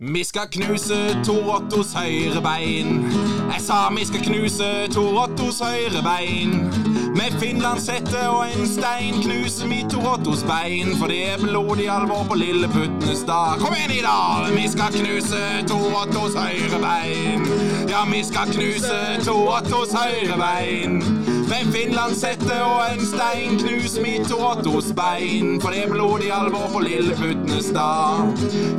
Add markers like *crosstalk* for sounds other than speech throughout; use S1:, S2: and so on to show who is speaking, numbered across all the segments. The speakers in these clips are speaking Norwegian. S1: Vi skal knuse Tor Ottos høyre bein. Jeg sa vi skal knuse Tor Ottos høyre bein. Med finlandshette og en stein knuser vi Tor Ottos bein. For det er blodig alvor på lille puttenes dag. Kom igjen, Idal! Vi skal knuse Tor Ottos høyre bein. Ja, vi skal knuse Tor Ottos høyre bein. Med finlandshette og en stein knuser vi Tor Ottos bein. For det er blodig alvor på lille puttenes dag.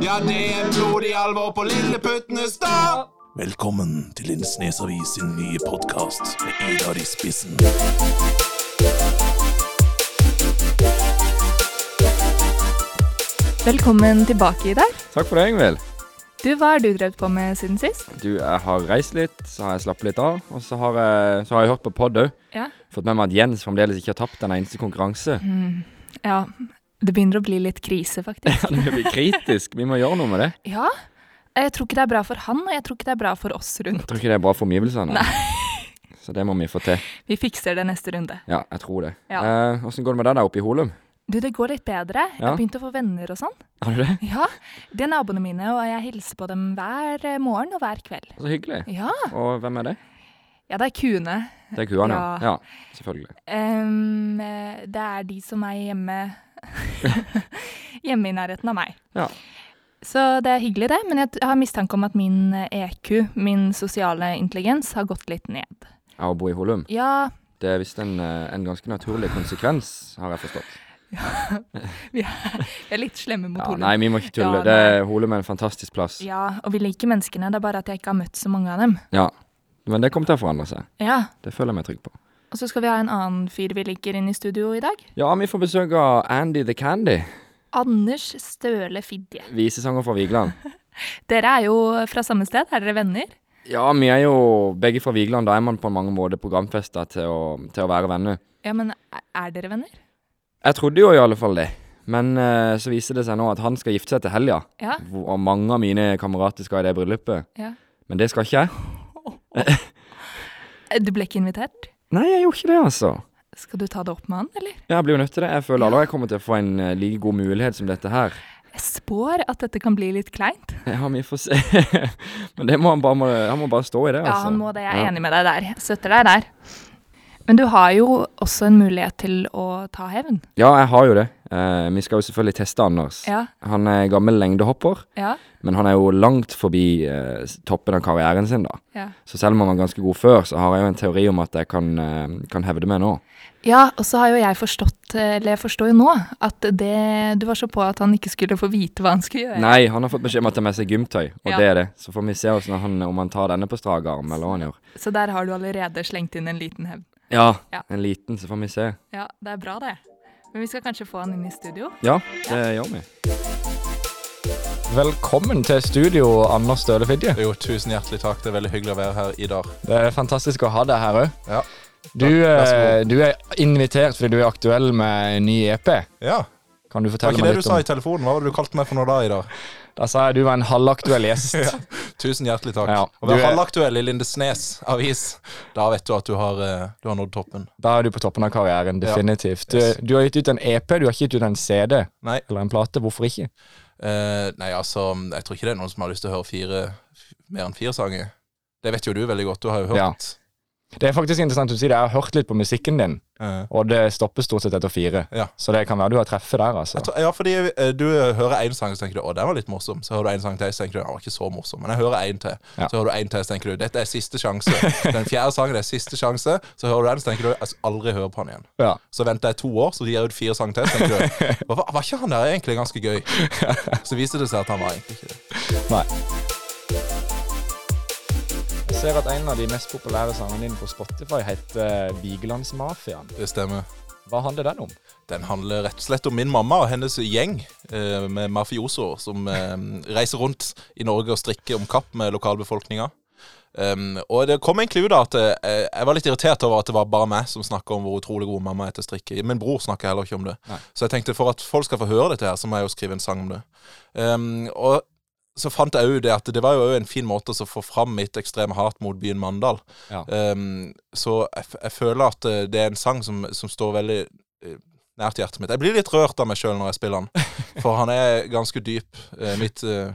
S1: Ja, det er blodig alvor på lille puttenes dag.
S2: Velkommen til Lindesnes Avis sin nye podkast med Idar i spissen.
S3: Velkommen tilbake, Idar.
S4: Takk for det, Ingvild.
S3: Du, Hva har du drevet på med siden sist?
S4: Du, jeg har reist litt, så har jeg slappet litt av, og så har jeg, så har jeg hørt på podd òg.
S3: Ja. Mm.
S4: Fått med meg at Jens fremdeles ikke har tapt en eneste konkurranse.
S3: ja. Det begynner å bli litt krise, faktisk.
S4: Det blir kritisk. Vi må gjøre noe med det.
S3: *laughs* ja. Jeg tror ikke det er bra for han, og jeg tror ikke det er bra for oss rundt.
S4: Jeg tror ikke det er bra for omgivelsene. Så det må vi få til.
S3: Vi fikser det neste runde.
S4: Ja, jeg tror det.
S3: Ja.
S4: Eh, Åssen går det med deg der oppe i Holum?
S3: Du, det går litt bedre. Jeg
S4: Ja.
S3: har begynt å få venner og sånn.
S4: Har du det?
S3: *laughs* Ja. De er naboene mine, og jeg hilser på dem hver eh, morgen og hver kveld.
S4: Så hyggelig.
S3: Ja.
S4: Og hvem er det?
S3: Ja, det er kuene.
S4: Det er kuene,
S3: Ja.
S4: ja. ja. Selvfølgelig.
S3: Em, eh, det er de som er hjemme *laughs* Hjemme i nærheten av meg.
S4: Ja.
S3: Så det er hyggelig, det. Men jeg t- har mistanke om at min eh, EQ, min sosiale intelligens, har gått litt ned.
S4: Jeg å bo i Holum.
S3: Ja,
S4: Det er visst en, eh, en ganske naturlig konsekvens, har jeg forstått.
S3: vi er, vi er litt slemme mot
S4: Ja,
S3: Holum.
S4: nei, vi må ikke tulle.
S3: Ja,
S4: det, Holum er en fantastisk plass.
S3: Ja, og vi liker menneskene, det er bare at jeg ikke har møtt så mange av dem.
S4: Ja. Men det kommer til å forandre seg.
S3: Ja,
S4: Det føler jeg meg trygg på.
S3: Og så skal vi ha en annen fyr vi liker inne i studio i dag.
S4: Ja, vi får besøk av Andy the Candy,
S3: Anders Støle Fidje.
S4: visesanger fra Vigeland.
S3: Dere er jo fra samme sted, er dere venner?
S4: Ja, vi er jo begge fra Vigeland. Da er man på mange måter programfesta til, å- til å være venner.
S3: Ja, men er- er dere venner?
S4: Jeg trodde jo i alle fall det, men eh, så viser det seg nå at han skal gifte seg til helga.
S3: Ja.
S4: Hvor- Og mange av mine kamerater skal i det bryllupet.
S3: Ja.
S4: Men det skal ikke jeg.
S3: Eh, Du ble ikke invitert?
S4: Nei, jeg gjorde ikke det, altså.
S3: Skal du ta det opp med han, eller?
S4: Ja, Jeg blir jo nødt til det. Jeg føler aldri jeg kommer til å få en eh, like god mulighet som dette her. *laughs*
S3: Jeg spår at dette kan bli litt kleint.
S4: Ja, vi får se. *laughs* men det må han, bare, må, han må bare stå i det, altså.
S3: Ja, han må det. Jeg er
S4: Ja.
S3: enig med deg der. Jeg støtter deg der. Men du har jo også en mulighet til å ta hevn.
S4: Ja, jeg har jo det. Eh, vi skal jo selvfølgelig teste Anders.
S3: Ja.
S4: Han er gammel lengdehopper,
S3: Ja.
S4: men han er jo langt forbi eh, s- toppen av karrieren sin, da.
S3: Ja,
S4: Så selv om han var ganske god før, så har jeg jo en teori om at jeg kan, eh, kan hevde meg nå.
S3: og så har jo jeg forstått, eller jeg forstår jo nå, at det Du var så på at han ikke skulle få vite hva han skulle gjøre.
S4: Nei, han har fått beskjed om at det er med seg gymtøy, og
S3: Ja.
S4: det er det. Så får vi se hvordan han, om han tar denne på strak arm, eller hva han gjør.
S3: Så der har du allerede slengt inn en liten hevn.
S4: Ja,
S3: Ja.
S4: en liten, så får vi se.
S3: Ja, det er bra, det. Men vi skal kanskje få han inn i studio?
S4: Ja, det gjør vi.
S5: Velkommen til studio, Anders Støle Fidje.
S1: Jo, tusen hjertelig takk. Det er veldig hyggelig å være her i dag.
S5: Det er fantastisk å ha deg her òg.
S1: Ja.
S5: Du,
S1: vær så god.
S5: eh, du er invitert fordi du er aktuell med en ny EP.
S1: Ja,
S5: Kan du
S1: Var
S5: fortelle
S1: ikke
S5: meg
S1: det du
S5: litt
S1: sa
S5: om
S1: i telefonen? Hva var det du kalte meg for noe da, Idar?
S5: Da sa jeg du var en halvaktuell gjest.
S1: *laughs* Tusen hjertelig takk.
S5: Ja,
S1: Å
S5: du
S1: være
S5: er-
S1: halvaktuell i Lindesnes avis, da vet du at du har, eh, du har nådd toppen.
S5: Da er du på toppen av karrieren,
S1: Ja.
S5: definitivt. Du,
S1: Yes.
S5: du har gitt ut en EP, du har ikke gitt ut en CD
S1: Nei.
S5: eller en plate. Hvorfor ikke?
S1: Eh, nei, altså, jeg tror ikke det er noen som har lyst til å høre fire, f- mer enn fire sanger. Det vet jo du veldig godt. Du har jo
S5: Ja.
S1: hørt.
S5: Det er faktisk interessant å si det. Jeg har hørt litt på musikken din,
S1: eh,
S5: og det stopper stort sett etter fire.
S1: Ja.
S5: Så det kan være du har treffet der, altså.
S1: Jeg tror, ja, fordi eh, du hører én sang, så tenker du å, den var litt morsom. Så hører du én sang til, så tenker du den var ikke så morsom. Men jeg hører én til.
S5: Ja.
S1: Så hører du én til, så tenker du dette er siste sjanse. Den fjerde sangen er siste sjanse. Så hører du den, så tenker du jeg skal aldri høre på den igjen.
S5: Ja.
S1: Så venter jeg to år, så gir jeg ut fire sanger til. Så tenker du var, var ikke han der egentlig ganske gøy? Så viser det seg at han var egentlig ikke det.
S5: Nei. Jeg ser at en av de mest populære sangene dine på Spotify heter eh, Vigelandsmafiaen.
S1: Det stemmer.
S5: Hva handler den om?
S1: Den handler rett og slett om min mamma og hennes gjeng eh, med mafiosoer som eh, reiser rundt i Norge og strikker om kapp med lokalbefolkninga. Um, og det kom egentlig ut av at eh, jeg var litt irritert over at det var bare meg som snakka om hvor utrolig god mamma er til å strikke. Min bror snakker heller ikke om det.
S5: Nei.
S1: Så jeg tenkte for at folk skal få høre dette her, så må jeg jo skrive en sang om det. Um, og så fant jeg jo det at det var jo en fin måte å få fram mitt ekstreme hat mot byen Mandal.
S5: Ja.
S1: Um, så jeg, f- jeg føler at eh, det er en sang som, som står veldig eh, nært hjertet mitt. Jeg blir litt rørt av meg sjøl når jeg spiller den, for han er ganske dyp. eh, mitt eh,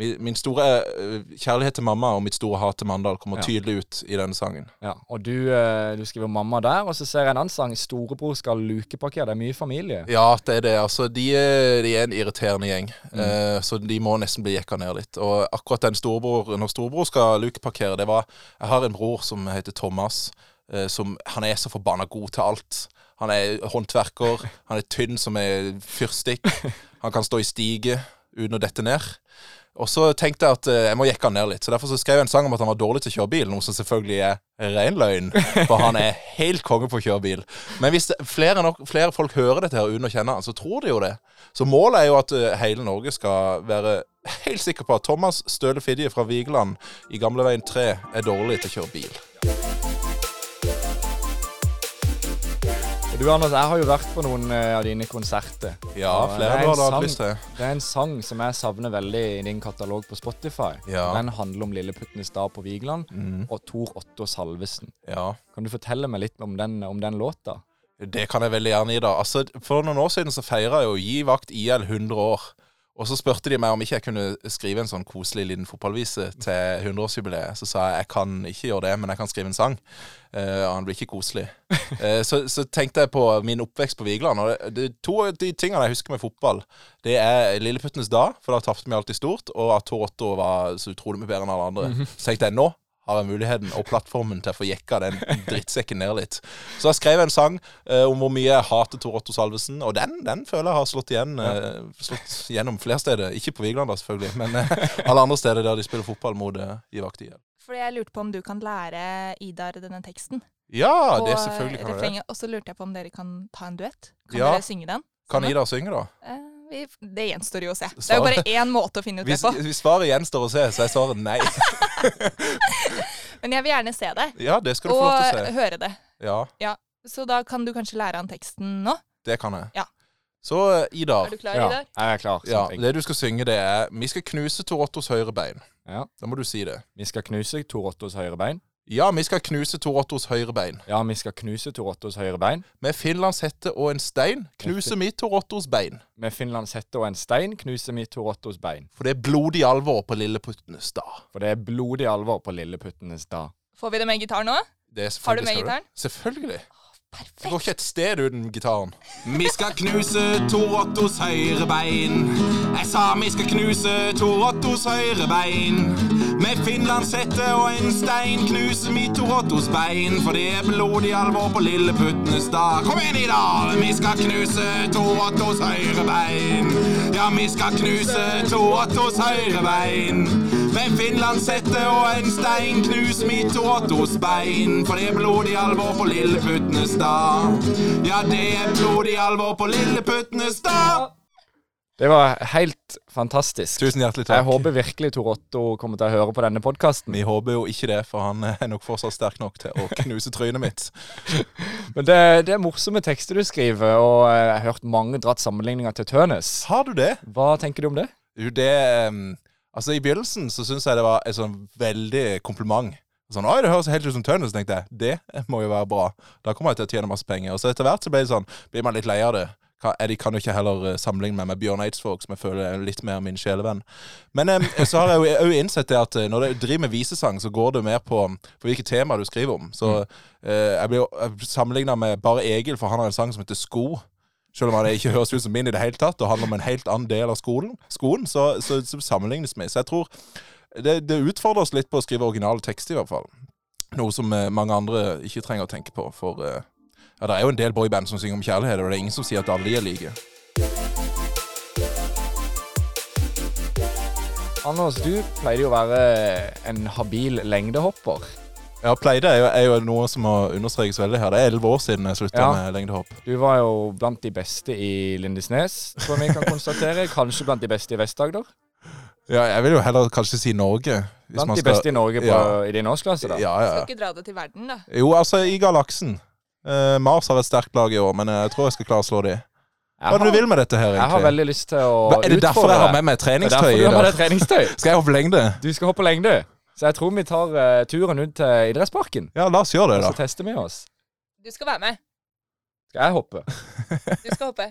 S1: Min, min store eh, kjærlighet til mamma og mitt store hat til Mandal kommer
S4: Ja.
S1: tydelig ut i denne sangen.
S4: Ja, og du, eh, du skriver mamma der, og så ser jeg en annen sang. Storebror skal lukeparkere. Det er mye familie.
S1: Ja, det er det. Altså, de, er- de er en irriterende gjeng, eh, så de må nesten bli jekka ned litt. Og akkurat den storebror, når storebror skal lukeparkere, det var Jeg har en bror som heter Thomas, eh, som han er så forbanna god til alt. Han er håndverker, han er tynn som ei fyrstikk, han kan stå i stige uten å dette ned. Og så tenkte jeg at eh, jeg må jekke han ned litt, så derfor så skrev jeg en sang om at han var dårlig til å kjøre bil, noe som selvfølgelig er ren løgn, for han er helt konge på å kjøre bil. Men hvis det, flere, nok, flere folk hører dette her uten å kjenne han, så tror de jo det. Så målet er jo at eh, hele Norge skal være helt sikker på at Thomas Støle Fidje fra Vigeland i Gamleveien 3 er dårlig til å kjøre bil.
S4: Og du, Anders, jeg har jo vært på noen eh, av dine konserter.
S1: Ja,
S4: Og det
S1: flere
S4: er
S1: enn
S4: en
S1: du hadde
S4: sang-
S1: hatt lyst til.
S4: Det er en sang som jeg savner veldig i din katalog på Spotify.
S1: Ja.
S4: Den handler om Lille puttenes dag på Vigeland
S1: Mm,
S4: og Tor Otto Salvesen.
S1: ja.
S4: Kan du fortelle meg litt om den, om den låta?
S1: Det kan jeg veldig gjerne gi, da. Altså, for noen år siden så feira jo Gi vakt IL 100 år. Og så spurte de meg om ikke jeg kunne skrive en sånn koselig liten fotballvise til 100-årsjubileet. Så sa jeg jeg kan ikke gjøre det, men jeg kan skrive en sang. Eh, og han blir ikke koselig. Eh, så, så tenkte jeg på min oppvekst på Vigeland. Og det, det, to av de tingene jeg husker med fotball, det er Lilleputtenes dag, for da tapte vi alltid stort, og at Tor Otto var så utrolig mye bedre enn alle andre. Så tenkte jeg nå har jeg muligheten og plattformen til å få jekka den drittsekken ned litt. Så jeg skrev en sang eh, om hvor mye jeg hater Tor Otto Salvesen, og den, den føler jeg har slått, igjen, eh, slått gjennom flere steder. Ikke på Vigeland, da, selvfølgelig, men eh, alle andre steder der de spiller fotball mot uh, Givakt IL.
S3: Fordi jeg lurte på om du kan lære Idar denne teksten.
S1: Ja,
S3: og eh,
S1: det er selvfølgelig kan jeg det.
S3: refrenget. Og så lurte jeg på om dere kan ta en duett. Kan
S1: Ja.
S3: dere synge den?
S1: Kan Ida synge, da?
S3: Eh, vi, det gjenstår jo å se. Det er jo bare én måte å finne ut det
S1: Hvis,
S3: på.
S1: hvis svaret gjenstår å se, så er svaret
S3: *laughs*
S1: nei.
S3: Men jeg vil gjerne se det.
S1: Ja, det skal du få lov til å
S3: Og eh,
S1: se.
S3: høre det.
S1: Ja,
S3: Så da kan du kanskje lære han teksten nå.
S1: det kan jeg.
S3: Ja.
S1: Så eh, Idar,
S3: Er du klar, Idar?
S4: jeg er klar. Sånn
S1: ja,
S4: sant, jeg.
S1: det du skal synge, det er Vi skal knuse Tor Ottos høyre bein.
S4: Ja.
S1: Da må du si det.
S4: Vi skal knuse Tor Ottos høyre bein.
S1: Ja, vi skal knuse Tor Ottos høyre bein.
S4: Ja, vi skal knuse Tor Ottos høyre bein.
S1: Med Finlands hette og en stein knuser vi Tor Ottos bein.
S4: Med Finlands hette og en stein knuser vi Tor Ottos bein.
S1: For det er blodig alvor på Lilleputtenes dag.
S4: For det er blodig alvor på lilleputtenes dag.
S3: Får vi det med gitar nå?
S1: Det er
S3: Har du med
S1: selvfølgelig-
S3: gitaren?
S1: Selvfølgelig. Det går
S3: Perfekt.
S1: ikke et sted uten gitaren.
S2: Vi skal knuse Tor Ottos høyre bein. Jeg sa vi skal knuse Tor Ottos høyre bein. Med finlandshette og en stein knuser vi Tor Ottos bein. For det er blodig alvor på lilleputtenes dag. Kom igjen, Ida! Vi skal knuse Tor Ottos høyre bein. Ja, vi skal knuse Tor Ottos høyre bein. Med finlandshette og en stein knuser vi Tor Ottos bein. For det er blodig alvor på lilleputtenes dag. Ja, det er blodig alvor på lilleputtenes dag.
S4: Det var helt fantastisk.
S1: Tusen hjertelig takk.
S4: Jeg håper virkelig Tor Otto kommer til å høre på denne podkasten.
S1: Vi håper jo ikke det, for han er nok fortsatt sterk nok til å knuse trynet mitt.
S4: Men det, det er morsomme tekster du skriver, og eh, jeg har hørt mange dratt sammenligninger til Tønes.
S1: Har du det?
S4: Hva tenker du om det?
S1: Jo, det ehm, Altså, i begynnelsen så syns jeg det var et sånn veldig kompliment. Sånn, Oi, det høres helt ut som Tønnes, tenkte jeg. Det må jo være bra. Da kommer jeg til å tjene masse penger. Og så etter hvert så ble det sånn, blir man litt lei av det. Ka- eh, De kan jo ikke heller eh, sammenligne meg med Bjørn Eidsvåg, som jeg føler er litt mer min sjelevenn. Men em, så har jeg jo òg innsett det at eh, når du driver med visesang, så går det mer på, um, på hvilke temaer du skriver om. Så eh, jeg blir jo sammenligna med Bare Egil, for han har en sang som heter Sko. Selv om han ikke høres ut som min i det hele tatt, og handler om en helt annen del av skolen, skoen, så, så, så sammenlignes vi. Så jeg tror det, det utfordrer oss litt på å skrive originale tekster, i hvert fall. Noe som eh, mange andre ikke trenger å tenke på, for eh, ja, det er jo en del boyband som synger om kjærlighet, og det er ingen som sier at alle de er like.
S4: Anders, du pleide jo å være en habil lengdehopper.
S1: Ja, pleide er jo, er jo noe som må understrekes veldig her. Det er elleve år siden jeg slutta
S4: Ja.
S1: med lengdehopp.
S4: Du var jo blant de beste i Lindesnes, som vi kan
S1: *laughs*
S4: konstatere. Kanskje blant de beste i Vest-Agder.
S1: Ja, jeg vil jo heller kanskje si Norge. hvis man
S4: Blant de
S1: skal-
S4: beste i Norge på,
S1: Ja.
S4: i din årsklasse, da.
S1: Ja, ja.
S3: Skal ikke dra det til verden, da.
S1: Jo, altså, i galaksen. Eh, Mars har et sterkt lag i år, men eh, jeg tror jeg skal klare å slå de. Hva er det du vil med dette her,
S4: jeg har
S1: egentlig?
S4: veldig lyst til å
S1: Hva- Er det derfor jeg har med
S4: Det
S1: meg
S4: er
S1: treningstøy?
S4: derfor
S1: i
S4: du har med
S1: dag?
S4: deg treningstøy.
S1: Skal jeg hoppe lengde?
S4: Du skal hoppe lengde. Så jeg tror vi tar eh, turen ut til idrettsparken, *laughs*
S1: Ja, la oss gjøre det,
S4: og så
S1: da.
S4: tester vi oss.
S3: Du skal være med.
S4: Skal jeg hoppe? *laughs*
S3: Du skal
S1: *laughs*
S3: hoppe.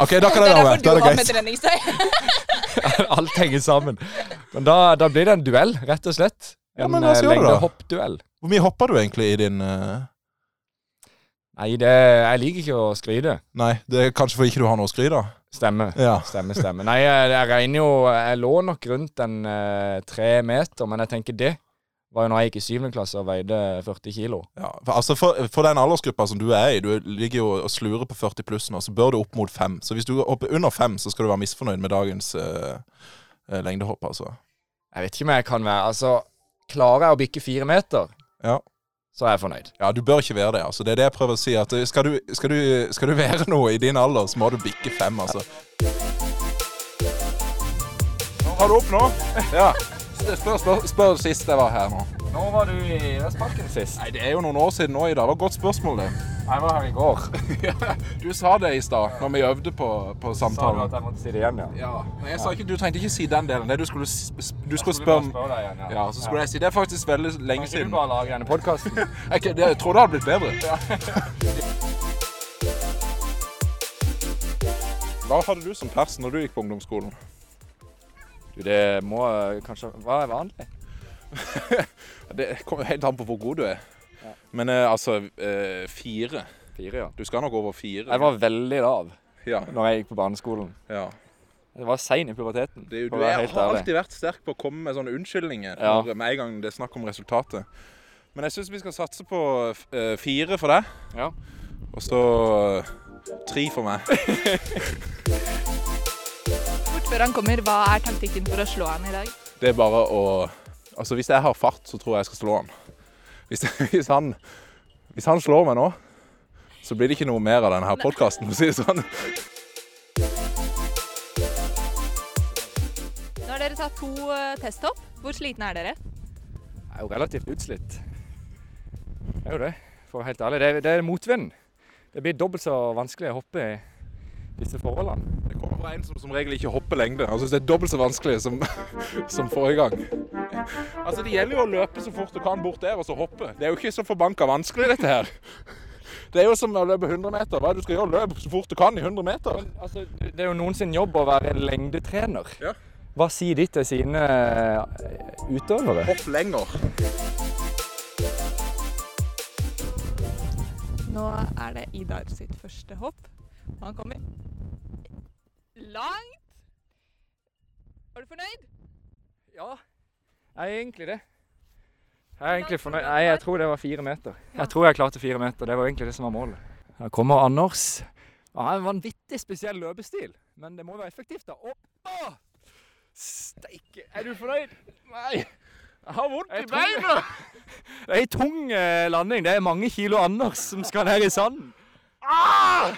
S4: OK, da kan
S3: det
S4: jeg
S3: er
S4: være
S3: derfor du
S4: med. Da er
S3: har
S4: det
S3: med
S4: greit.
S3: treningstøy.
S4: Alt henger sammen. Men da, da blir det en duell, rett og slett.
S1: Ja,
S4: En
S1: men hva
S4: eh,
S1: skal du da?
S4: lengdehoppduell.
S1: Hvor mye hopper du egentlig i din eh,
S4: Nei, det, jeg liker ikke å skryte.
S1: Nei, det er kanskje for ikke du har noe å skryte av?
S4: Stemme.
S1: Ja.
S4: Stemme, stemme. Nei, jeg, jeg regner jo Jeg lå nok rundt en eh, tre meter, men jeg tenker det var jo når jeg gikk i syvende klasse og veide 40 kilo.
S1: ja. For, altså for, for den aldersgruppa som du er i, du ligger jo og slurer på 40 pluss nå, så bør du opp mot fem. Så hvis du hopper under fem, så skal du være misfornøyd med dagens eh, eh, lengdehopp, altså.
S4: Jeg vet ikke om jeg kan være Altså, klarer jeg å bikke fire meter,
S1: Ja.
S4: så er jeg fornøyd.
S1: Ja, du bør ikke være det. altså. Det er det jeg prøver å si. at eh, Skal du, skal du, skal du
S6: *laughs*
S1: være noe i din alder, så må du bikke fem, altså. Har du opp nå?
S6: *laughs* Ja. Spør, spør, spør sist jeg var her nå.
S4: Nå var du i Vestparken sist.
S6: Nei, Det er jo noen år siden nå, Ida. Det var et godt spørsmål, det.
S4: Jeg var her i går.
S6: Du sa det i stad, når vi øvde på, på
S4: Sa du at
S6: samtalen.
S4: jeg måtte si det igjen, ja?
S6: Ja. Nei, jeg sa ikke, du trengte ikke si den delen. Det du skulle, s- du skulle
S4: Skulle bare
S6: spørre
S4: spørre deg igjen, ja.
S6: Ja, så skulle jeg si Det er faktisk veldig lenge
S4: Kan ikke
S6: siden.
S4: du bare lage denne podkasten?
S6: Jeg, kan- det- jeg tror det hadde blitt bedre.
S1: Hva hadde du som pers når du gikk på ungdomsskolen?
S4: Du, det må eh, kanskje Hva er vanlig?
S1: Det kommer jo helt an på hvor god du er. Men eh, altså eh, fire.
S4: Fire, ja.
S1: Du skal nok over fire.
S4: Jeg var veldig lav
S1: Ja,
S4: når jeg gikk på barneskolen.
S1: ja.
S4: Jeg var sein i puberteten.
S1: Det er jo,
S4: for
S1: du
S4: å
S1: er,
S4: være helt
S1: har
S4: ærlig.
S1: alltid vært sterk på å komme med sånne unnskyldninger
S4: Ja.
S1: når, eh, med en gang det er snakk om resultatet. Men jeg syns vi skal satse på eh, fire for deg.
S4: Ja.
S1: Og så eh, tre for meg.
S7: Fort før han kommer, hva er taktikken for å slå han i dag?
S1: Det er bare å Altså, hvis jeg har fart, så tror jeg jeg skal slå han. Hvis, hvis *laughs* han. hvis han slår meg nå, så blir det ikke noe mer av denne her podkasten, for å si det sånn.
S3: Nå har dere tatt to eh, testhopp. Hvor slitne er dere?
S4: Jeg er jo relativt utslitt. Det er jo det, for å være helt ærlig. Det er, det er motvind. Det blir dobbelt så vanskelig å hoppe i disse forholdene.
S1: Det kommer fra en som som regel ikke hopper lengde. Han syns det er dobbelt så vanskelig som, *laughs* som forrige gang. Altså, Det gjelder jo å løpe så fort du kan bort der, og så hoppe. Det er jo ikke så forbanka vanskelig, dette her. Det er jo som å løpe 100 meter. Hva er det du skal gjøre? Løp så fort du kan i 100 meter.
S4: Men altså, det er jo noen sin jobb å være lengdetrener.
S1: Ja.
S4: Hva sier de til sine eh, utøvere?
S1: Hopp lenger.
S3: Nå er det Idar sitt første hopp. Og han kommer langt. Var du fornøyd?
S4: Ja, jeg er egentlig det. Jeg er egentlig fornøyd. Nei, jeg tror det var fire meter. Jeg tror jeg klarte fire meter. Det var egentlig det som var målet. Her kommer Anders. Han har en vanvittig spesiell løpestil, men det må være effektivt, da. Oppa! Steike, er du fornøyd? Nei.
S1: Jeg har vondt
S4: Jeg tror- *laughs* Det er ei tung eh, landing. Det er mange kilo Anders som skal ned i sanden.
S1: Ah!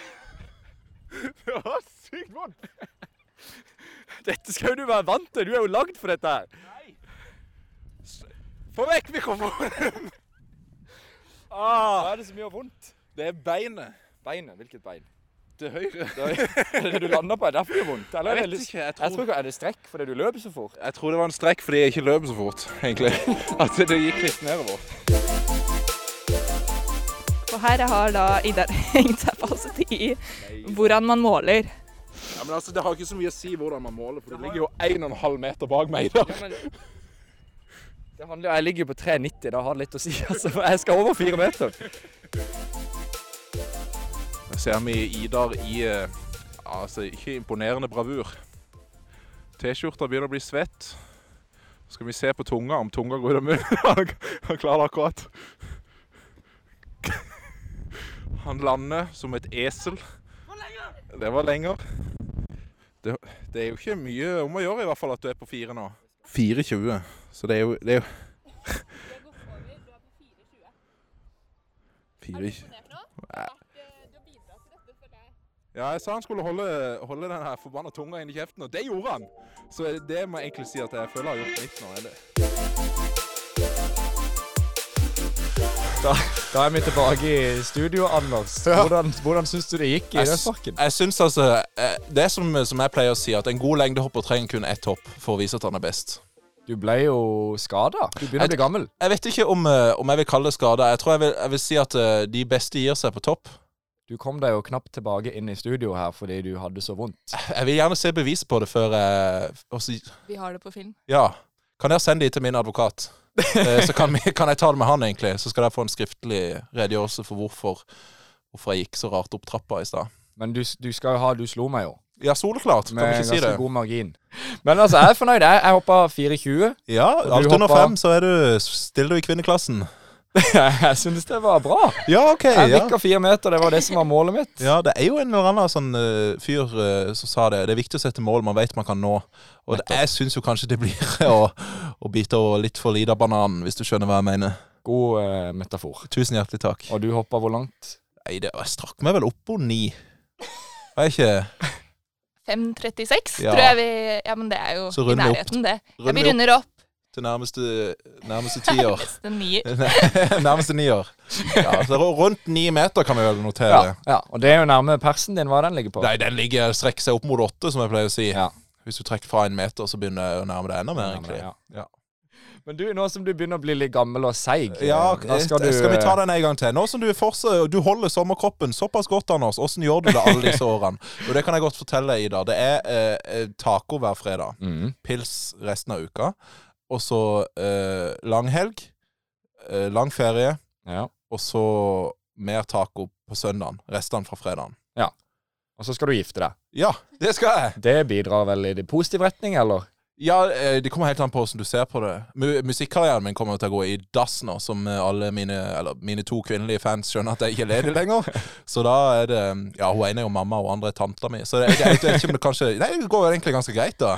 S1: Det var sykt vondt.
S4: Dette skal jo du være vant til. Du er jo lagd for dette her.
S1: Få vekk mikrofonen.
S4: *laughs* Hva er det som gjør vondt?
S1: Det er beinet
S4: Beinet. Hvilket bein?
S1: til høyre.
S4: Det er *laughs* det du lander på, er derfor det gjør vondt? Eller er
S1: Jeg
S4: det
S1: vet
S4: lyst-
S1: ikke. Jeg
S4: Jeg tror
S1: tror,
S4: ikke Er det strekk fordi du løper så fort?
S1: jeg tror det var en strekk fordi jeg ikke løp så fort, egentlig. At det gikk litt nedover.
S3: Og her har da Idar *laughs* hengt seg fast i hvordan man måler.
S1: Ja, men altså, Det har ikke så mye å si hvordan man måler, for du ligger jo 1,5 meter bak meg. da.
S4: Det handler, jeg ligger jo på 3,90, da har det litt å si. Altså, for jeg skal over fire meter.
S1: Jeg ser vi Idar i eh, altså ikke imponerende bravur. T-skjorta begynner å bli svett. Så skal vi se på tunga, om tunga går ut av munnen. *laughs* Han- Han klarer det akkurat. *laughs* Han lander som et esel. Det var lenger. Det, det er jo ikke mye om å gjøre i hvert fall at du er på fire nå. 4,20. Så det er jo, det er jo 4,20. Ja, jeg sa han skulle holde, holde den her forbanna tunga inn i kjeften, og det gjorde han! Så det må jeg egentlig si at jeg føler jeg har gjort mitt nå. er det.
S4: Da er vi tilbake i studio, Anders. Hvordan, hvordan syns du det gikk i
S1: Jeg s-
S4: Rødparken?
S1: Jeg syns altså eh, Det er som, som jeg pleier å si, at en god lengdehopper trenger kun ett hopp for å vise at han er best.
S4: Du ble jo skada. Du begynner å bli gammel.
S1: Jeg vet ikke om, eh, om jeg vil kalle det skade. Jeg tror jeg vil, jeg vil si at eh, de beste gir seg på topp.
S4: Du kom deg jo knapt tilbake inn i studio her fordi du hadde så vondt.
S1: Jeg vil gjerne se bevis på det før jeg og så-
S8: Vi har det på film.
S1: Ja. Kan dere sende de til min advokat? Eh, Så kan, vi, kan jeg ta det med han, egentlig. Så skal dere få en skriftlig redegjørelse for hvorfor, hvorfor jeg gikk så rart opp trappa i stad.
S4: Men du, du skal jo ha Du slo meg jo.
S1: Ja, soleklart. Kan vi
S4: Med
S1: ikke si
S4: ganske
S1: det?
S4: god margin. Men altså, jeg er fornøyd. Jeg, jeg hoppa 4,20.
S1: Ja,
S4: du
S1: alt under
S4: hoppa-
S1: fem, så er du, stiller du i kvinneklassen.
S4: *laughs* Jeg synes det var bra.
S1: Ja, OK.
S4: Jeg
S1: Ja.
S4: bikka fire meter, det var det som var målet mitt.
S1: Ja, det er jo en eller annen sånn eh, fyr eh, som sa det. Det er viktig å sette mål man vet man kan nå. Og det, jeg syns jo kanskje det blir *laughs* å, å bite over litt for lite av bananen, hvis du skjønner hva jeg mener.
S4: God eh, metafor.
S1: Tusen hjertelig takk.
S4: Og du hoppa hvor langt?
S1: Nei, det, jeg strakk meg vel opp på ni. Var jeg ikke
S8: 5.36,
S1: Ja.
S8: tror jeg vi Ja, men det er jo
S1: Så
S8: i
S1: runder vi opp.
S8: nærheten, det. Ja, vi
S1: Runder vi opp
S8: runder opp.
S1: til nærmeste, nærmeste tiår? *laughs*
S8: Neste nier.
S1: nærmeste niår. Ja, så ru- rundt ni meter kan vi vel notere.
S4: Ja, ja. Og det er jo nærme persen din hva den ligger på.
S1: Nei, den ligger strekker seg opp mot åtte, som jeg pleier å si.
S4: Ja.
S1: Hvis du trekker fra en meter, så begynner jeg å nærme deg enda mer, egentlig.
S4: Ja.
S1: Ja.
S4: Men du, nå som du begynner å bli litt gammel og seig,
S1: Ja,
S4: eh, da skal
S1: skal,
S4: du
S1: vi ta
S4: eh,
S1: den en gang til? Nå som du, fortsatt, du holder sommerkroppen såpass godt, Anders, åssen gjør du det alle
S4: *laughs*
S1: disse årene? Jo, det kan jeg godt fortelle, Ida. Det er eh, eh, taco hver fredag.
S4: Mhm.
S1: Pils resten av uka. Og så eh, langhelg. Eh, lang ferie.
S4: ja.
S1: Og så mer taco på søndagen. Restene fra fredagen.
S4: Og så skal du gifte deg.
S1: Ja, det skal jeg!
S4: Det bidrar vel i det positiv retning, eller?
S1: Ja, eh, Det kommer helt an på hvordan du ser på det. Mu musikkarrieren min kommer til å gå i dass nå, som eh, alle mine, eller mine to kvinnelige fans skjønner at jeg ikke er ledig lenger. Så da er det Ja, hun ene er jo mamma, og hun andre er tanta mi. Så det, jeg, jeg vet ikke om det kanskje Nei, det går jo egentlig ganske greit, da.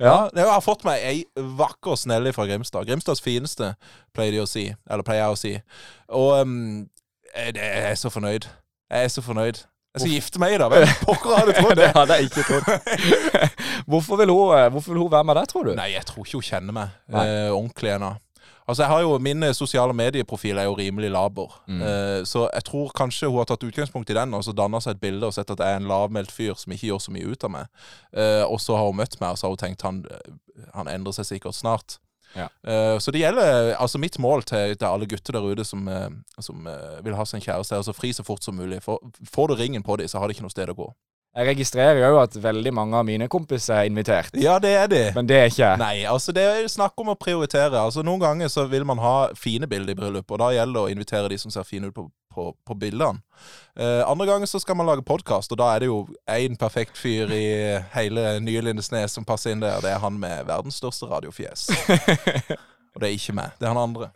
S1: Ja, Jeg har fått meg ei vakker snelle fra Grimstad. Grimstads fineste, pleier de å si. Eller pleier jeg å si. Og ehm, jeg, jeg er så fornøyd. Jeg er så fornøyd. Jeg skal gifte meg, da. Hvem pokker hadde
S4: *laughs*
S1: trodd det?
S4: Det hadde jeg ikke
S1: *laughs*
S4: trodd. hvorfor, vil hun, eh, hvorfor vil hun være med deg, tror du?
S1: Nei, jeg tror ikke hun kjenner meg
S4: Nei.
S1: eh, ordentlig ennå. Altså, jeg har jo, Min sosiale medieprofil er jo rimelig laber,
S4: Mm.
S1: eh, så jeg tror kanskje hun har tatt utgangspunkt i den og så danna seg et bilde og sett at jeg er en lavmælt fyr som ikke gjør så mye ut av meg. Eh, og så har hun møtt meg, og så har hun tenkt han, eh, han endrer seg sikkert snart.
S4: Ja.
S1: Eh, så det gjelder altså mitt mål til, til alle gutter der ute som, eh, som eh, vil ha seg en kjæreste, er å så fri så fort som mulig. For, får du ringen på dem, så har de ikke noe sted å gå.
S4: Jeg registrerer jo at veldig mange av mine kompiser er invitert,
S1: Ja, det er de.
S4: men det er ikke jeg.
S1: Nei, altså det er snakk om å prioritere. Altså Noen ganger så vil man ha fine bilder i bryllup, og da gjelder det å invitere de som ser fine ut på, på, på bildene. Eh, andre ganger så skal man lage podkast, og da er det jo én perfekt fyr i hele nye Lindesnes som passer inn der. Det er han med verdens største radiofjes. Og det er ikke meg, det er han andre.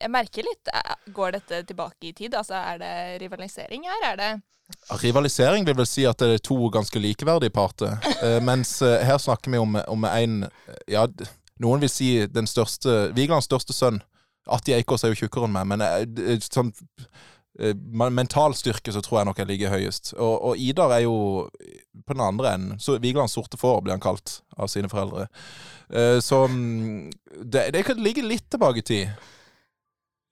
S8: Jeg merker litt eh, Går dette tilbake i tid? Altså, er det rivalisering her? Er det
S1: Rivalisering vil vel si at det er to ganske likeverdige parter. Eh, mens eh, her snakker vi om, om en eh, Ja, d- noen vil si den største Vigelands største sønn. Atti Eikås er jo tjukkere enn meg, men eh, d- sånn eh, men- mental styrke så tror jeg nok jeg ligger høyest. Og, og Idar er jo på den andre enden. Så Vigelands sorte får blir han kalt av sine foreldre. Eh, så mm, det, det kan ligge litt tilbake i tid.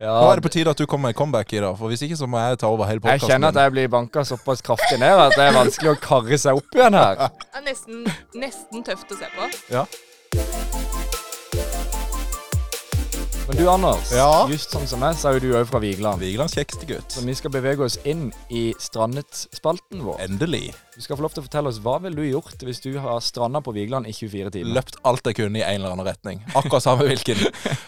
S4: Ja,
S1: Nå er det på tide at du kommer med comeback, Idar, for hvis ikke så må jeg ta over hele
S4: jeg
S1: podkasten.
S4: kjenner at jeg blir banka såpass kraftig ned at det er vanskelig å karre seg opp igjen
S1: *laughs*
S4: her.
S8: er nesten, nesten tøft å se på.
S4: Men du, Anders.
S1: Ja?
S4: Just sånn som meg, så er jo du òg fra Vigeland.
S1: Vigelands kjekkeste gutt.
S4: Så vi skal bevege oss inn i strandet-spalten vår.
S1: Endelig.
S4: Du skal få lov til å fortelle oss hva vil du gjort hvis du har stranda på Vigeland i 24 timer.
S1: Løpt alt jeg kunne i en eller annen retning. Akkurat samme hvilken.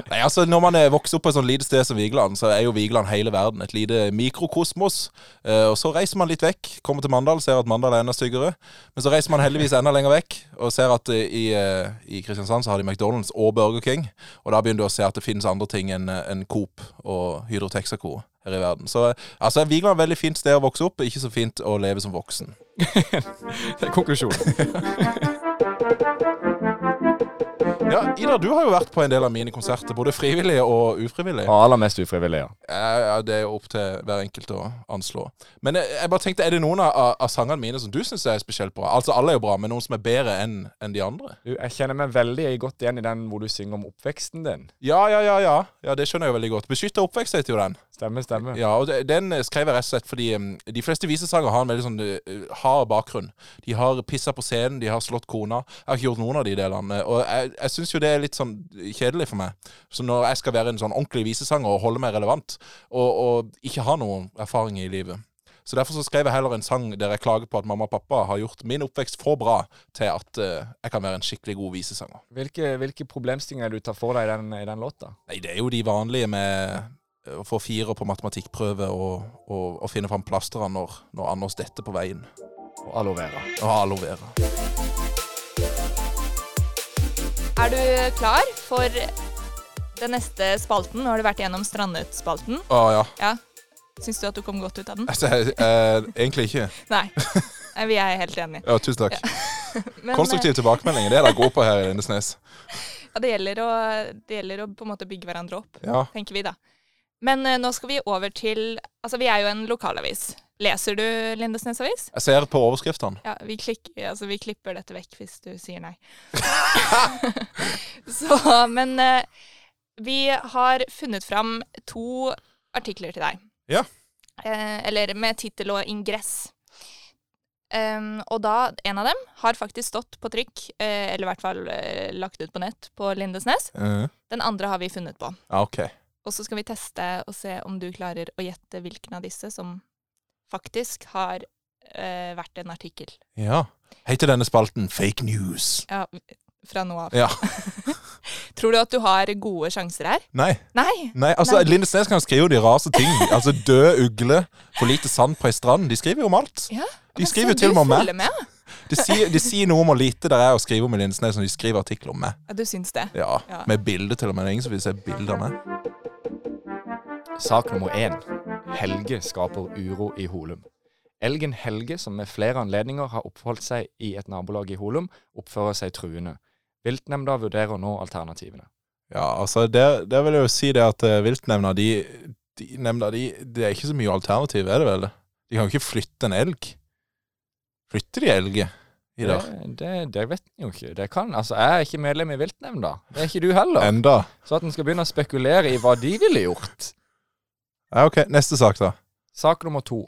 S1: Nei, altså Når man er vokst opp på et sånt lite sted som Vigeland, så er jo Vigeland hele verden. Et lite mikrokosmos. Eh, og Så reiser man litt vekk. Kommer til Mandal, ser at Mandal er enda styggere. Men så reiser man heldigvis enda lenger vekk og ser at eh, i, eh, i Kristiansand så har de McDonald's og Burger King. Og da begynner du å se at det finnes andre ting enn en Coop og Hydro Texaco her i verden. Så eh, altså, Vigeland er et veldig fint sted å vokse opp, ikke så fint å leve som voksen.
S4: Det er konklusjonen.
S1: Ja, Ida, du har jo vært på en del av mine konserter, både frivillige og ufrivillige.
S4: Og aller mest ufrivillig, *laughs* ja.
S1: Ja, ja, det er jo opp til hver enkelt å anslå. Men jeg, jeg bare tenkte, er det noen av, av- av sangene mine som du syns er spesielt bra? Altså, alle er jo bra, men noen som er bedre enn enn de andre?
S4: Du, jeg kjenner meg veldig godt igjen i den hvor du synger om oppveksten din.
S1: Ja, ja, ja, ja. ja det skjønner jeg jo veldig godt. 'Beskytte oppvekst' heter jo den.
S4: Stemmer, stemmer.
S1: Ja, og det- Den eh, skrev jeg rett og slett fordi um, de fleste visesanger har en veldig sånn uh, hard bakgrunn. De har pissa på scenen, de har slått kona. Jeg har ikke gjort noen av de delene. Og jeg, jeg syns jo det er litt sånn kjedelig for meg. Så når jeg skal være en sånn ordentlig visesanger og holde meg relevant, og, og ikke ha noen erfaring i livet, Så derfor så skrev jeg heller en sang der jeg klager på at mamma og pappa har gjort min oppvekst for bra til at eh, jeg kan være en skikkelig god visesanger.
S4: Hvilke, hvilke problemstillinger er det du tar for deg i den, i den låta?
S1: Nei, det er jo de vanlige med eh, å få firer på matematikkprøve og, og, og finne fram plasteren når, når Anders detter på veien.
S4: Og aloe vera.
S1: Og ha aloe vera.
S3: Er du klar for den neste spalten? Nå har du vært gjennom Strandnytt-spalten.
S1: Å ja. *laughs*
S3: Syns du at du kom godt ut av den?
S1: Altså, jeg- eh, egentlig ikke.
S3: Nei. Nei, Vi er helt enige.
S1: Ja, tusen takk.
S3: Men, eh,
S1: Konstruktiv tilbakemelding. Det er det jeg går på her i denne snes.
S3: Ja, det gjelder å, det gjelder å på en måte bygge hverandre opp,
S1: Ja.
S3: tenker vi da. Men eh, nå skal vi over til Altså, vi er jo en lokalavis. Leser du Lindesnes avis?
S1: Jeg ser på overskriftene.
S3: Ja, vi, klikker, altså, vi klipper dette vekk hvis du sier nei. *laughs* Så, men eh, vi har funnet fram to artikler til deg.
S1: Ja.
S3: Eh, eller med tittel og ingress. Em, og da, en av dem har faktisk stått på trykk, eh, eller i hvert fall eh, lagt ut på nett på Lindesnes.
S1: Mhm.
S3: Den andre har vi funnet på.
S1: Ja, OK.
S3: Og så skal vi teste og se om du klarer å gjette hvilken av disse som faktisk har eh, vært en artikkel.
S1: Ja. Heter denne spalten Fake News?
S3: Ja, fra nå av.
S1: Ja.
S3: *laughs* Tror du at du har gode sjanser her?
S1: Nei.
S3: Nei!
S1: Nei, altså
S3: Nei.
S1: Lindesnes kan skrive de rareste ting. Altså Død ugle, for lite sand på ei strand. De skriver jo om alt.
S3: Ja,
S1: De skriver jo til og med om
S3: Du
S1: meg.
S3: følger med.
S1: De sier, de sier noe om hvor lite det er å skrive om i Lindesnes når de skriver artikler om meg.
S3: Ja, du syns det.
S1: Ja,
S3: Ja.
S1: Med bilde til og med. Det er ingen som vil se bilde av meg.
S4: Sak nummer én. Helge skaper uro i Holum. Elgen Helge, som med flere anledninger har oppholdt seg i et nabolag i Holum, oppfører seg truende. Viltnemnda vurderer nå alternativene.
S1: Ja, altså der, der vil jeg jo si det at eh, viltnemnda, de, de nemnda, de Det er ikke så mye alternativ, er det vel? De kan jo ikke flytte en elg. Flytter de elger i dag?
S4: Det, det, det vet en jo ikke. Det kan, altså, jeg er ikke medlem i viltnemnda. Det er ikke du heller.
S1: Enda.
S4: Så at en skal begynne å spekulere i hva de ville gjort.
S1: Ja, OK. Neste sak, da.
S4: Sak nummer to.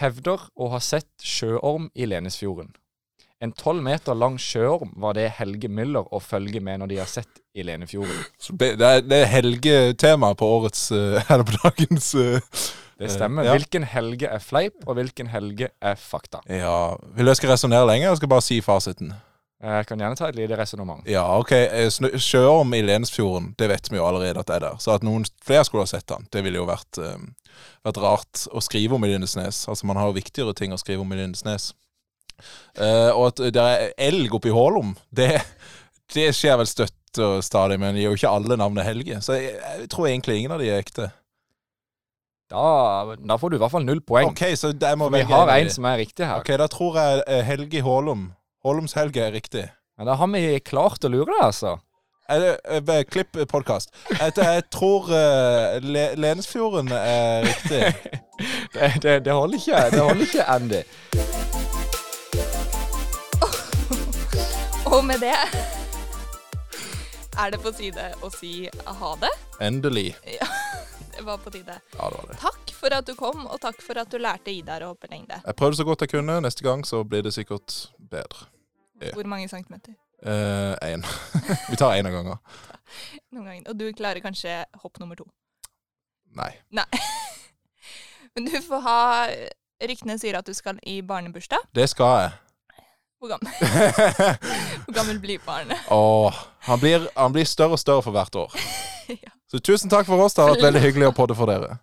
S4: Hevder å ha sett sjøorm i Lenesfjorden. En tolv meter lang sjøorm var det Helge Müller å følge med når de har sett i Lenefjorden.
S1: Så Det, det er, det er helgetema på årets eh, *laughs* Eller på dagens eh,
S4: Det stemmer.
S1: Ja.
S4: Hvilken helge er fleip, og hvilken helge er fakta?
S1: Ja. Vil du jeg skal resonnere lenge, eller skal jeg bare si fasiten?
S4: Jeg Eh, kan gjerne ta et lite resonnement.
S1: Ja, OK. eh, snø- Sjøorm i Lensfjorden, det vet vi jo allerede at er der. Så at noen flere skulle ha sett den, det ville jo vært, eh, vært rart å skrive om i Lindesnes. Altså, man har jo viktigere ting å skrive om i Lindesnes. Eh, og at det er elg oppi Hålom, det, det skjer vel støtt og stadig, men de gir jo ikke alle navnet Helge. Så jeg, jeg tror egentlig ingen av de er ekte.
S4: Da, da får du i hvert fall null poeng.
S1: OK, så jeg må
S4: For vi
S1: velge
S4: har
S1: av de.
S4: en som er riktig her.
S1: Ok, da tror jeg eh, Helge Hålum. Hålums Helge er riktig.
S4: Men da har vi klart å lure deg, altså.
S1: Er det- eh, bare Klipp podkast. Jeg, jeg tror eh, Le Lenesfjorden er riktig.
S3: *laughs*
S4: Det, det, det holder ikke, det holder ikke, Andy.
S3: Og med det er det på tide å si ha det.
S1: Endelig.
S3: Det var på tide.
S1: Ja, det var det.
S3: Takk for at du kom, og takk for at du lærte Idar å hoppe lengde.
S1: Jeg prøvde så godt jeg kunne. Neste gang så blir det sikkert bedre. Ja.
S3: Hvor mange centimeter?
S1: Én. *laughs* Vi tar én av gangen.
S3: Noen ganger. Og du klarer kanskje hopp nummer to.
S1: Nei.
S3: Men du får ha eh, Ryktene sier at du skal i barnebursdag.
S1: Det skal
S3: *laughs*
S1: jeg.
S3: Hvor gammel, *laughs* hvor gammel blir barnet?
S1: Åh, han, blir, han blir større og større for hvert år.
S3: *laughs* Ja.
S1: Så tusen takk for oss. Det har vært veldig hyggelig å podde for dere.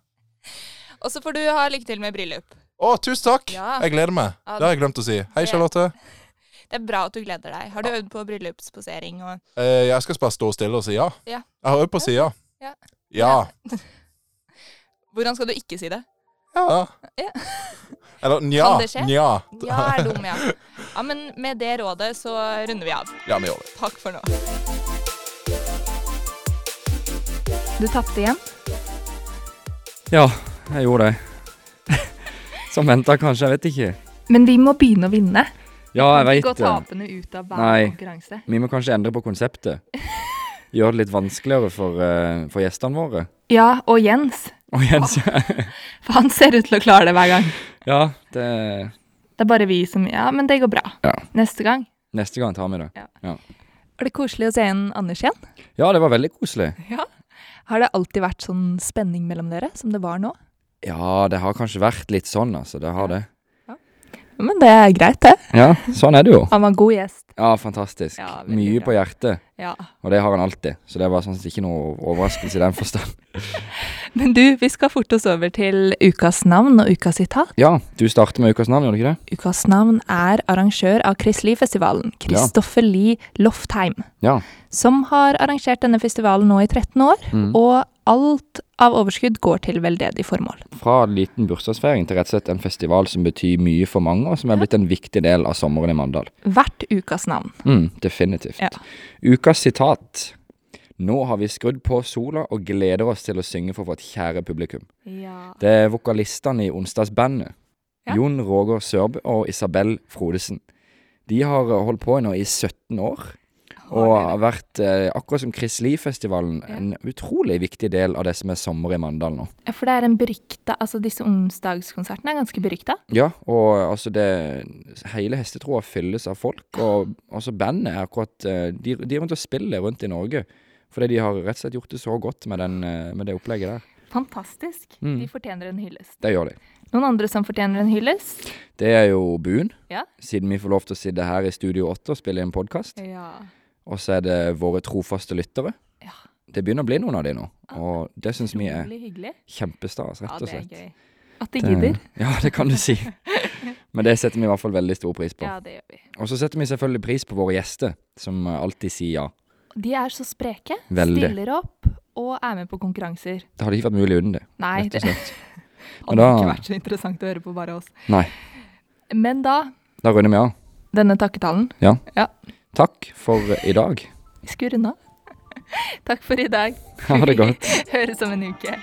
S3: Og så får du ha lykke til med bryllup.
S1: Å, tusen takk!
S3: Ja.
S1: Jeg gleder meg.
S3: Ja,
S1: Det har jeg glemt å si. Hei,
S3: det-
S1: Charlotte.
S3: Det er bra at du gleder deg. Har du øvd på bryllupsposering og
S1: Eh, jeg skal bare stå stille og si ja.
S3: Ja.
S1: Jeg har øvd på å si ja.
S3: Ja.
S1: Ja.
S3: Hvordan skal du ikke si det?
S1: ja.
S3: Ja.
S1: Eller nja.
S3: Kan det skje?
S1: Nja.
S3: Ja er dum, ja. Ja, Men med det rådet så runder vi av.
S1: Ja, vi gjør det.
S3: Takk for nå.
S9: Du tapte igjen.
S10: Ja, jeg gjorde det. *laughs* Som venta, kanskje. Jeg vet ikke.
S9: Men vi må begynne å vinne.
S10: Ja, jeg
S9: Gå
S10: veit det.
S9: tapende ut av hver
S10: Nei.
S9: konkurranse.
S10: Vi må kanskje endre på konseptet. Gjøre det litt vanskeligere for, eh, for gjestene våre.
S9: Ja, og Jens.
S10: Og Jens, ja.
S9: For han ser ut til å klare det hver gang.
S10: ja det,
S9: Det er bare vi som Ja, men det går bra.
S10: Ja.
S9: Neste gang.
S10: neste gang tar vi det.
S9: Var det koselig å se igjen Anders igjen?
S10: Ja, det var veldig koselig.
S9: Ja. Har det alltid vært sånn spenning mellom dere som det var nå?
S4: Ja, det har kanskje vært litt sånn, altså. Det har det.
S3: Men det er greit, det.
S4: Ja, sånn er det jo.
S3: Han var en god gjest.
S4: Ja, fantastisk.
S3: Ja, veldig
S4: Mye
S3: bra.
S4: på hjertet,
S3: Ja.
S4: og det har han alltid. Så det var sånn sett ikke noe overraskelse i den forstand.
S3: Men du, vi skal forte oss over til ukas navn og ukas sitat.
S4: Ja, du starter med ukas navn, gjør du ikke det?
S3: Ukas navn er arrangør av Chris Lie-festivalen, Kristoffer Lie Loftheim,
S4: Ja.
S3: som har arrangert denne festivalen nå i 13 år, og alt av overskudd går til veldedig formål.
S4: Fra liten bursdagsfeiring til rett og slett en festival som betyr mye for mange, og som er blitt en viktig del av sommeren i Mandal.
S3: Hvert ukas navn.
S4: Mm, definitivt.
S3: Ja.
S4: Ukas sitat. Nå har vi skrudd på sola og gleder oss til å synge for vårt kjære publikum. Det er vokalistene i onsdagsbandet.
S3: Ja.
S4: Jon Roger Sørbø og Isabel Frodesen. De har eh, holdt på nå i 17 år. Og har vært, eh, akkurat som Chris Lie-festivalen, en utrolig viktig del av det som er sommer i Mandal nå.
S3: Ja, for det er en berykta Altså, disse onsdagskonsertene er ganske berykta.
S4: Ja, og altså det Hele hestetroa fylles av folk, og altså bandet er akkurat eh, De, de er rundt og spiller rundt i Norge. Fordi de har rett og slett gjort det så godt med, den, eh, med det opplegget der.
S3: Fantastisk. De fortjener en hyllest.
S4: Det gjør de.
S3: Noen andre som fortjener en hyllest?
S4: Det er jo Buen,
S3: Ja.
S4: siden vi får lov til å sitte her i Studio 8 og spille inn podkast.
S3: Ja.
S4: Og så er det våre trofaste lyttere.
S3: Ja.
S4: Det begynner å bli noen av de nå, og det syns vi er
S3: Utrolig hyggelig.
S4: kjempestas, rett og slett. Mm.
S3: gøy. At de gidder.
S4: *laughs* Ja, det kan du
S3: *laughs*
S4: si. Men det setter vi i hvert fall veldig stor pris på.
S3: Ja, det gjør vi.
S4: Og så setter vi selvfølgelig pris på våre gjester, som eh, alltid sier ja.
S3: De er så spreke.
S4: Veldig.
S3: Stiller opp og er med på konkurranser.
S4: Det hadde ikke vært mulig uten det.
S3: Nei,
S4: rett
S3: det
S4: og slett. Men
S3: hadde
S4: da,
S3: ikke vært så interessant å høre på bare oss.
S4: nei,
S3: Men da,
S4: da runder vi av.
S3: denne takketalen.
S4: Ja.
S3: Ja.
S4: Takk for i dag.
S3: Vi skulle runde av. *laughs* Takk for i dag.
S4: Ha det godt.
S3: Høres om en uke.